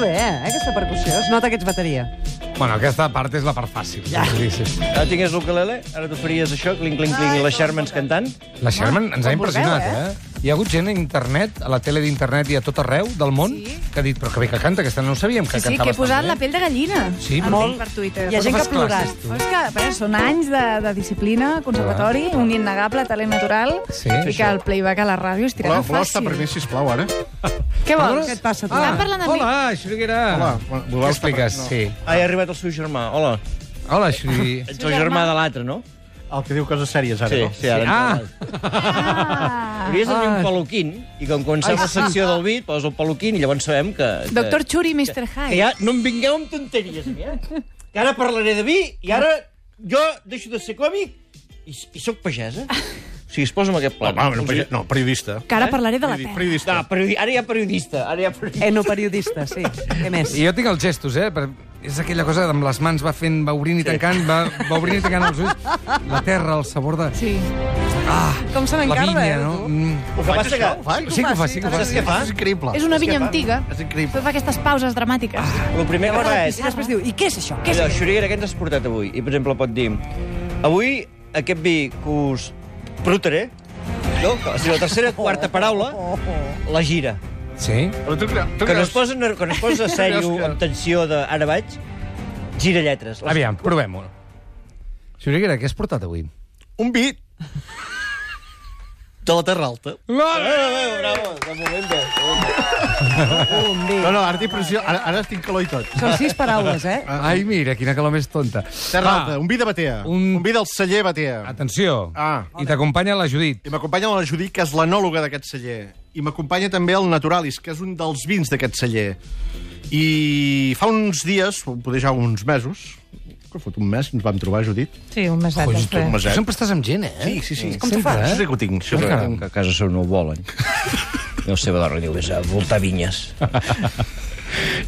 bé, eh, aquesta percussió. Es nota que ets bateria. Bueno, aquesta part és la part fàcil. Ja. Sí, sí. Ara tingués l'ukelele, Ah, ara tu faries això, clink, clink, clink, i les Shermans cantant. La Sherman ens ha quan impressionat, vulgueu, eh? Hi ha hagut gent a internet, a la tele d'internet i a tot arreu del món, Sí. que ha dit, però que bé que canta, aquesta no ho sabíem que Sí, sí, cantava que he posat tan la bé." pell de gallina. Sí, Em molt. dic Per Twitter. Hi ha gent fas que ha plorat. classes, Però és que, bé, són anys de, de disciplina, conservatori, un innegable talent natural Sí, i que això. el playback a la ràdio es tirarà Flor, Flor Ah, està fàcil. per mi, sisplau, ara. Què Ah. vols? Què et passa, tu? Ah. Estan parlant amb mi. Hola, Xuriguera. Hola, Ah, bueno, Què voleu expliques? estar- no. Sí. Ah, ha arribat el seu germà. Hola. Hola, Xuri. Ets el germà de l'altre, no? El que diu coses sèries, ara, Sí, no? sí, ara. Ah, ens parles. Ah. Hauries de tenir Ah. un peluquín, i com quan s'ha la secció del bit, poses el peluquín i llavors sabem que... que- Doctor Churi, Mr. Que Hyde. ja no em vingueu amb tonteries, a mi, eh? Que ara parlaré de vi i ara jo deixo de ser còmic i, i sóc pagesa. O sigui, es posa en aquest pla. Home, Ah, no, peri- no, periodista. Que ara parlaré de la Periodi- terra. Periodista. No, Ah, periodi... ara ja periodista. Ara ja periodista. Eh, Enoperiodista, sí. Què més? I jo tinc els gestos, eh? Per... És aquella cosa amb les mans, va fent, va obrint i tancant, va, va obrint i tancant els ulls. La terra, el sabor de... Sí. Ah, Com se la n'encarda, vinya, eh, no? tu? Mm. El que passa que... Faig? Sí que ho fa, sí que ho fa. Saps què fa? És increïble. És Ah. una vinya fa- antiga. És increïble. Tot fa aquestes pauses dramàtiques. El primer que fa és... I després diu, i què és això? Què és Allò, això? Xuriguera, què ens has portat avui? I, per exemple, pot dir... Avui, aquest vi que us brutaré, no? O sigui, la tercera o quarta paraula, la gira. Sí? Però tu, cre- tu Que no es creus... posa, ner- que no es posa sèrio, amb tensió de ara vaig, gira lletres. Aviam, provem-ho. Xuriguera, què has portat avui? Un vi de la Terra Alta. Bravo, bravo, de moment bé. No, no, ara tinc pressió, ara, ara tinc calor i tot. Són sis paraules, eh? Ai, mira, quina calor més tonta. Terra Va, Alta, un vi de Batea. Un- Un, un vi del celler Batea. Atenció. Ah. I t'acompanya la Judit. I m'acompanya la Judit, que és l'enòloga d'aquest celler. I m'acompanya també el Naturalis, que és un dels vins d'aquest celler. I fa uns dies, o poder ja uns mesos, que fot un mes, ens vam trobar, Judit. Sí, un missatge. Doncs Un després. Tu meset. sempre estàs amb gent, eh? Sí, sí, eh? sí. Com t'ho fas? Sí que ho tinc. Sí, Ah, que ho caram. tinc. Que a casa seu no ho volen. I el seu d'arro diu, és a voltar vinyes.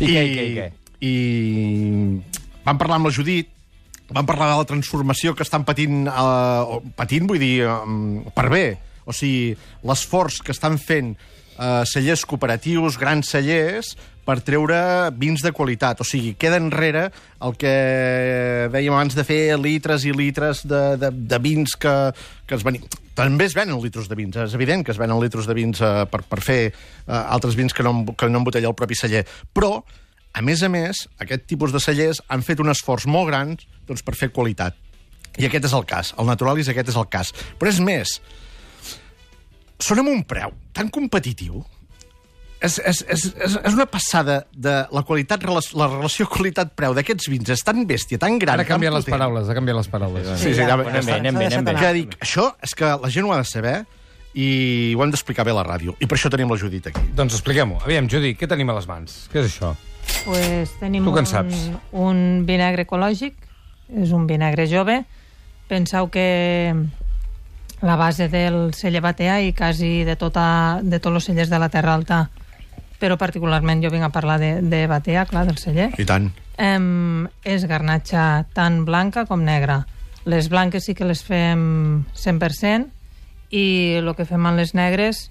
I què, i què, i què? I vam parlar amb la Judit, vam parlar de la transformació que estan patint, eh, o- patint vull dir, eh, per bé. O sigui, l'esforç que estan fent eh, cellers cooperatius, grans cellers, per treure vins de qualitat. O sigui, queda enrere el que dèiem abans de fer litres i litres de, de, de vins que, que es venien... També es venen litros de vins, eh? és evident que es venen litros de vins eh, per, per fer eh, altres vins que no, em- que no embotella el propi celler. Però a més a més, aquest tipus de cellers han fet un esforç molt gran doncs, per fer qualitat. I aquest és el cas. El Naturalis aquest és el cas. Però és més, són amb un preu tan competitiu és, és, és, és, és una passada de la qualitat, relac- la relació qualitat-preu d'aquests vins és tan bèstia, tan gran... Ara ha canviat tan les potent. paraules, ha canviat les paraules. Sí, sí, ja, ja, Anem bé, està. anem bé, anem bé. Que dic, això és que la gent ho ha de saber i ho hem d'explicar bé a la ràdio. I per això tenim la Judit aquí. Doncs expliquem-ho. Aviam, Judi, què tenim a les mans? Què és això? Pues tenim Tu que en un, saps. un vinagre ecològic, és un vinagre jove. Penseu que la base del celler batea i quasi de, tota, de tots els cellers de la Terra Alta, però particularment jo vinc a parlar de, de batea, clar, del celler, I tant. em, és garnatxa tant blanca com negra. Les blanques sí que les fem 100% i el que fem amb les negres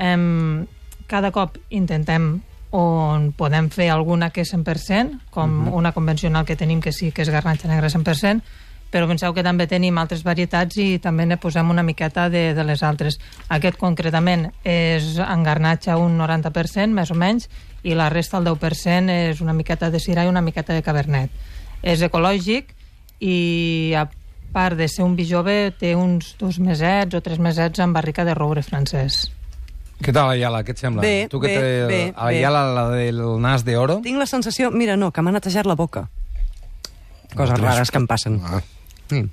em, cada cop intentem on podem fer alguna que és 100%, com una convencional que tenim que sí que és garnatxa negra 100%, però penseu que també tenim altres varietats i també ne posem una miqueta de, de les altres. Aquest concretament és en garnatxa un 90%, més o menys, i la resta, el 10%, és una miqueta de cirà i una miqueta de cabernet. És ecològic i, a part de ser un vi jove, té uns dos mesets o tres mesets en barrica de roure francès. Què tal, Ayala? Què et sembla? Bé, tu que bé, té bé, Ayala, la del nas d'oro? Tinc la sensació... Mira, no, que m'ha netejat la boca. Coses rares que em passen. Mm.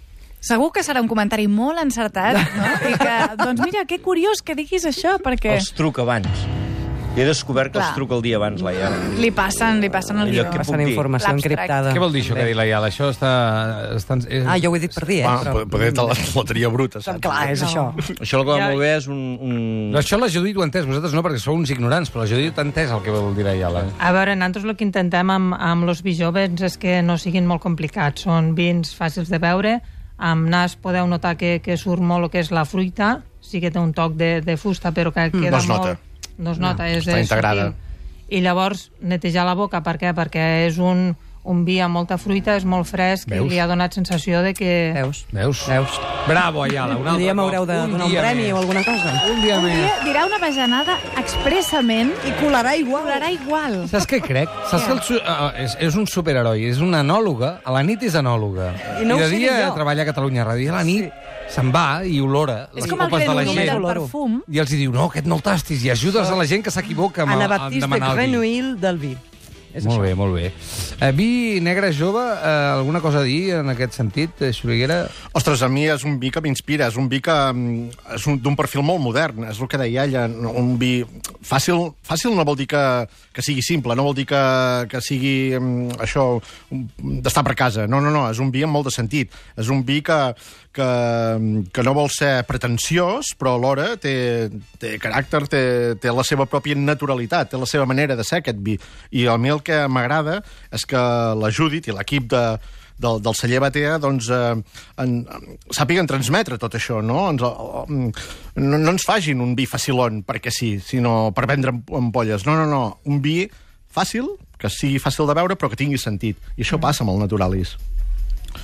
Segur que serà un comentari molt encertat, no? I que, doncs mira, que curiós que diguis això, perquè Els truca abans. I he descobert que els Clar. Mm. truca el dia abans, la Iana. li passen, li passen Allò el guió. que puc Passen dir? informació L'abstract. encriptada. Què vol dir això que ha dit l'Ayala? Això està... està és... Ah, jo ho he dit per dir, eh? Va, Però... poder te la loteria bruta, saps? Clar, és això. Això el que va Ja- molt bé és un... un... Però això la Judit ho ha entès, vosaltres no, perquè sou uns ignorants, però la Judit ha entès el que vol dir l'Ayala. A veure, nosaltres el que intentem amb, amb los vi joves és que no siguin molt complicats. Són vins fàcils de veure. Amb nas podeu notar que, que surt molt el que és la fruita. Sí que té un toc de, de fusta, però que queda Mm, no es nota. molt... No es nota. és, està és integrada. sutil. i llavors netejar la boca, per què? Perquè és un, un vi amb molta fruita, és molt fresc Veus? i li ha donat sensació de que... Veus? Veus? Veus? Bravo, Ayala, un Un altre dia m'haureu de cop. donar un dia premi més. o alguna cosa. Un dia Un dia més. dirà una bajanada expressament I colarà igual. cobrarà igual. Saps què crec? Saps que el, su- ah, és, és un superheroi, és una anòloga, a la nit és anòloga. I no I ho de sé dia ni jo. treballa a Catalunya Ràdio, i a la nit se'n va i olora És les com el copes de la Grenouille gent. del perfum. I els hi diu, no, aquest no el tastis, i ajudes a la gent que s'equivoca amb- Ana a Baptista demanar el vi. Grenouille del vi. És Molt això. bé, molt bé. Eh, vi negre jove, eh, alguna cosa a dir en aquest sentit, eh, Xuriguera? Ostres, a mi és un vi que m'inspira, és un vi que mm, és un- d'un perfil molt modern, és el que deia ella, no- un vi fàcil, fàcil no vol dir que, que sigui simple, no vol dir que, que sigui mm, això mm, d'estar per casa, no, no, no, és un vi amb molt de sentit, és un vi que, que, mm, que no vol ser pretensiós, però alhora té, té caràcter, té, té la seva pròpia naturalitat, té la seva manera de ser aquest vi, i a mi el que m'agrada és que la Judit i l'equip de, del, del celler Batea doncs, eh, en, en, sàpiguen transmetre tot això, no? Ens, el- el- no, no ens fagin un vi facilon perquè sí, sinó per vendre am- ampolles. No, no, no, un vi fàcil, que sigui fàcil de veure però que tingui sentit. I això passa amb el naturalis.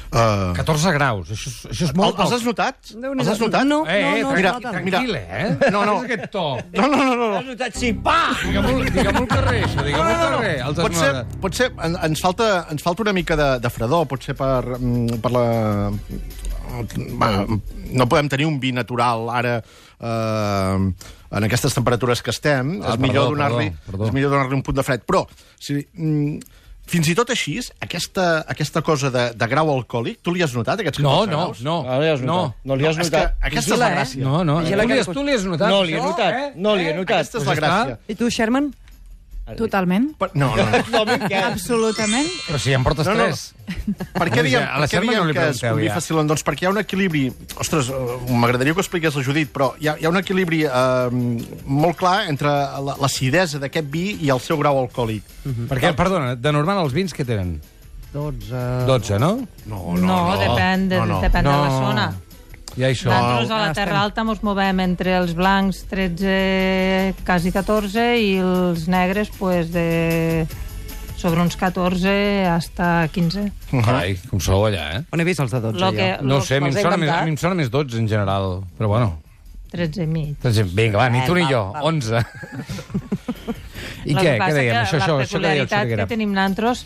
Uh, 14 graus, això és, això és el, Eh, molt els poc. has notat? Déu-n'hi-do. Els has notat? No. Eh, eh, no, mira, tranqui- tranquil·la, eh? No, no. És aquest to. No, no, no, no. no. Has notat? Sí, pa! Digue'm-ho digue'm al carrer, això, digue'm al carrer. Els has Potser, notat. potser en- ens, falta, ens falta una mica de, de fredor, potser per, mm, per la... Va, no podem tenir un vi natural ara eh, en aquestes temperatures que estem. Ah, Ah, és millor perdó, donar-li perdó, perdó. és millor donar-li un punt de fred. Però, si, mm, fins i tot així, aquesta, aquesta cosa de, de grau alcohòlic, tu li has notat, aquests 14 No, no, graus? no. Ah, No li has No. notat. No, li has És que notat. aquesta és la gràcia. eh? No, no, Vigila tu li, que has, li- tu li has notat. eh? No li he això? notat. No li he notat. Aquesta és Doncs la ja gràcia. I tu, Sherman? Totalment. Per, no, no, no. Absolutament. Però si ja en portes No, no. tres. Per què diem, A la per què Selma diem no li que és pregunteu, un vi ja. facilon? Doncs perquè hi ha un equilibri... Ostres, eh, m'agradaria que ho expliqués la Judit, però hi ha, hi ha un equilibri eh, molt clar entre la- l'acidesa d'aquest vi i el seu grau alcohòlic. Perquè, perdona, de normal els vins que tenen? 12. 12, no? No, depèn, de, no, no. depèn de la No. zona. Ja això. Nosaltres a Ah, la estem. Terra Alta ens movem entre els blancs 13, quasi 14, i els negres pues, de sobre uns 14 hasta 15. Carai, com sou allà, eh? On he vist els de 12, Lo jo? que- No ho sé, a mi em Me'ls he sona més, inventat. a mi em sona més 12 en general, però bueno. 13 i mig. Doncs, Vinga, va, ni Eh, tu ni va, jo, va. 11. I El què, que què passa dèiem? que Això, la això, això que deia el peculiaritat Sorguera. que tenim nosaltres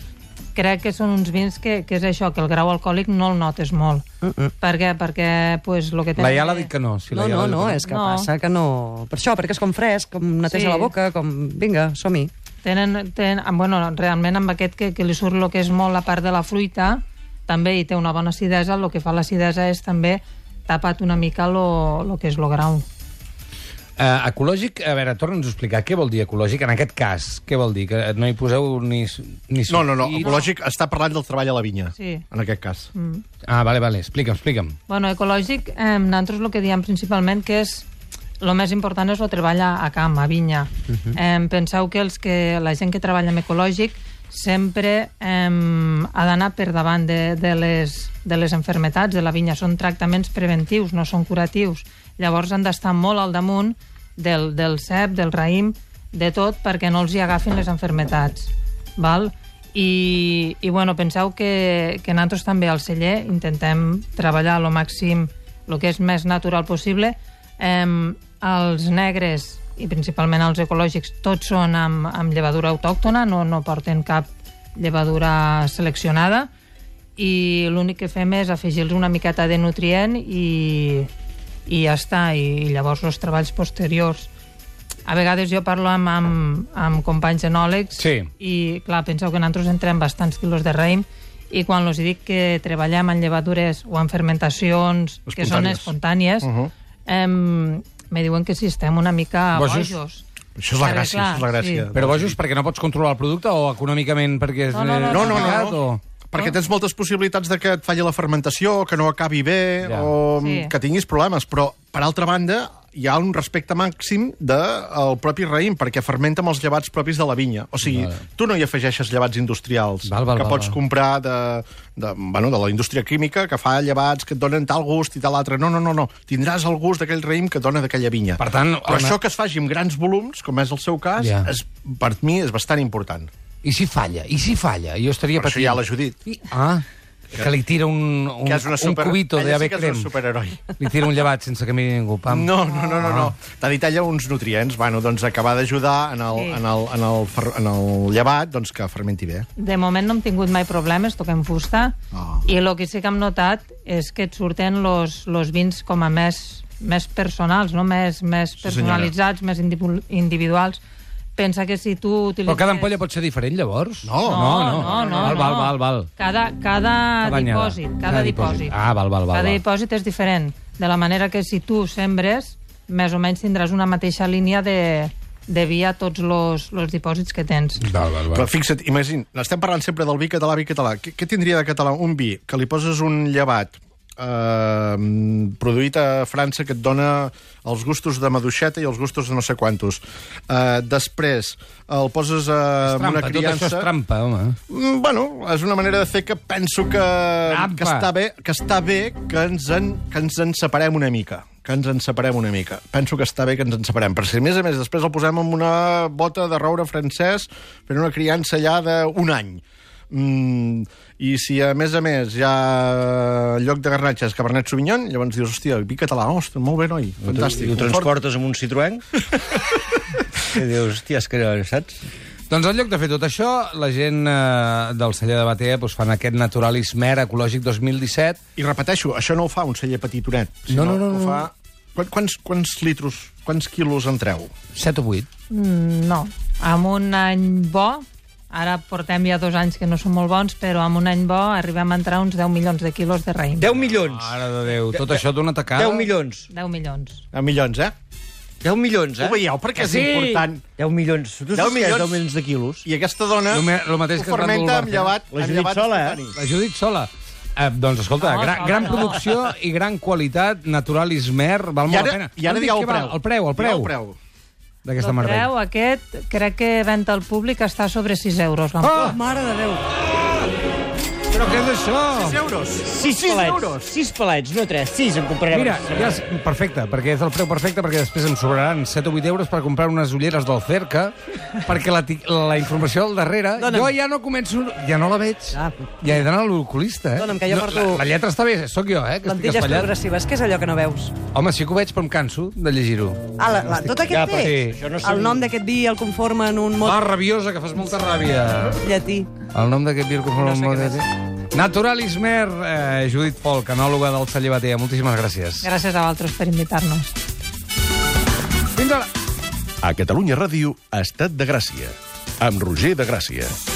crec que són uns vins que, que és això, que el grau alcohòlic no el notes molt. Uh -uh. Per què? Perquè pues, lo que Mm, La Iala ha de- dit que no. Si la No, no, Iala ha dit no, que és que No. passa que no... Per això, perquè és com fresc, com neteja Sí. la boca, com... Vinga, som-hi. Tenen, tenen, ah, bueno, realment amb aquest que, que li surt el que és molt la part de la fruita, també hi té una bona acidesa, el que fa l'acidesa és també tapat una mica el que és lo grau. Uh, ecològic, a veure, torna'ns a explicar què vol dir ecològic en aquest cas. Què vol dir? Que no hi poseu ni... s- ni No, no, no, sulfits? ecològic està parlant del treball a la vinya, Sí. en aquest cas. Mm. Ah, vale, vale, explica'm, explica'm. Bueno, ecològic, eh, nosaltres el que diem principalment que és el més important és el treball a, a camp, a vinya. Uh -huh. eh, penseu que, els que la gent que treballa amb ecològic sempre eh, ha d'anar per davant de, de, les, de les enfermetats de la vinya. Són tractaments preventius, no són curatius. Llavors han d'estar molt al damunt del, del cep, del raïm, de tot, perquè no els hi agafin les enfermetats. Val? I, i bueno, penseu que, que nosaltres també al celler intentem treballar lo màxim, el que és més natural possible. Eh, els negres, i principalment els ecològics, tots són amb, amb llevadura autòctona, no, no porten cap llevadura seleccionada, i l'únic que fem és afegir-los una miqueta de nutrient i, i ja està, i, llavors els treballs posteriors. A vegades jo parlo amb, amb, amb companys enòlegs Sí. i, clar, penseu que nosaltres entrem bastants quilos de raïm i quan els dic que treballem en llevadures o en fermentacions que són espontànies, uh -huh. em, me diuen que si estem una mica Bojos. bojos. Això és la Perquè, gràcia, clar, això és la gràcia. sí. Però bojos perquè no pots controlar el producte o econòmicament perquè és No, no, no, eh, No, no, no, complicat, no. o- Perquè tens moltes possibilitats de que et falli la fermentació, que no acabi bé, Ja. o Sí. que tinguis problemes. Però, per altra banda, hi ha un respecte màxim del propi raïm, perquè fermenta amb els llevats propis de la vinya. O sigui, tu no hi afegeixes llevats industrials, Val, val, que val, pots val. comprar de, de, bueno, de la indústria química, que fa llevats que et donen tal gust i tal altre. No, no, no, no. Tindràs el gust d'aquell raïm que et dona d'aquella vinya. Per tant, Però home- això que es faci amb grans volums, com és el seu cas, Ja. és, per mi és bastant important. I si falla? I si falla? Jo estaria Per això patint. hi ha la Judit. I, ah, que li tira un, un, que és una super... un cubito de Ella sí ave que és crem. un superheroi. Li tira un llevat sense que miri ningú. Pam. No, no, no, no, no. Ah. Te li talla uns nutrients, bueno, doncs acabar d'ajudar en, el, Sí. en, el, en, el, fer- en el llevat doncs que fermenti bé. De moment no hem tingut mai problemes, toquem fusta, Ah. i el que sí que hem notat és que et surten los, los vins com a més, més personals, no? més, més personalitzats, més individu- individuals. Pensa que si tu utilitzes... Però cada ampolla pot ser diferent, llavors? No. No, no, no. val, no, no. val, val, val. Cada, cada, Cada anyada. dipòsit, cada, Cada dipòsit. dipòsit. Ah, val, val, val, Cada val. dipòsit és diferent. De la manera que si tu sembres, més o menys tindràs una mateixa línia de, de via a tots els dipòsits que tens. Val, val, Però fixa't, imagina, estem parlant sempre del vi català, vi català. Què, què tindria de català un vi que li poses un llevat eh, produït a França que et dona els gustos de maduixeta i els gustos de no sé quantos. Eh, després el poses eh, amb Trampa, una tot això criança... és trampa, home. Mm, bueno, és una manera de fer que penso que, Trampa. que està bé que està bé que ens en, que ens en separem una mica que ens en separem una mica. Penso que està bé que ens en separem, perquè si a més a més després el posem amb una bota de roure francès fent una criança ja d'un any. Mm, I si a més a més hi ha en lloc de garnatges Cabernet Sauvignon, llavors dius, hòstia, vi català, ostres, molt bé, noi, fantàstic. I ho confort. transportes amb un Citroën? I dius, hòstia, és que saps? Doncs en lloc de fer tot això, la gent eh, del celler de Batea doncs, fan aquest naturalismer ecològic 2017. I repeteixo, això no ho fa un celler petitonet. No, no, sinó no, que Ho no. fa... Quan- Quants, quants litros, quants quilos en treu? 7 o 8. Mm, No, amb un any bo, ara portem ja dos anys que no són molt bons, però amb un any bo arribem a entrar uns 10 milions de quilos de raïm. 10 milions. Mare de Déu, tot això d'una tacada... 10 milions. 10 milions. A milions, eh? 10 milions, Ho eh? veieu, perquè és Sí. important. 10 milions. Tu 10 saps què és milions? 10 milions de quilos? I aquesta dona Lo me- lo mateix ho que es va dur fermenta el amb Barça. llevat. La amb Judit llevat sola, eh? espontani. La Judit Sola. Eh, doncs escolta, No, gran, sola gran no. producció i gran qualitat, natural ismer, val molt I ara, la pena. i ara Hem dit digueu el que val, preu. El preu, el Digueu preu, El d'aquesta merda. preu aquest, crec que venta al públic, està sobre 6 euros. Ah! l'ampolla. Mare de Déu. Però què és això? 6 euros. 6 palets. 6 palets, no 3. 6 en comprarem. Mira, ja és perfecte, perquè és el preu perfecte, perquè després em sobraran 7 o 8 euros per comprar unes ulleres del Cerca, perquè la, ti- la informació al darrere... Dóna'm. Jo ja no començo... Ja no la veig. Ah. Ja he d'anar a l'oculista, eh? Dóna'm, que jo porto- La, la lletra està bé, sóc jo, eh, que estic Lentilles espatllat. progressives, què és allò que no veus? Home, sí que ho veig, però em canso de llegir-ho. Ah, la, la, tot aquest Ja, ja, però text, sí, això no el són- nom d'aquest vi el conforma en un mot Ah, rabiosa, que fas molta ràbia. llatí. El nom d'aquest virgo no sé Natural Ismer, eh, Judit Pol, canòloga del Celler Batea. Moltíssimes gràcies. Gràcies a vosaltres per invitar-nos. Fins ara. A Catalunya Ràdio, Estat de Gràcia, amb Roger de Gràcia.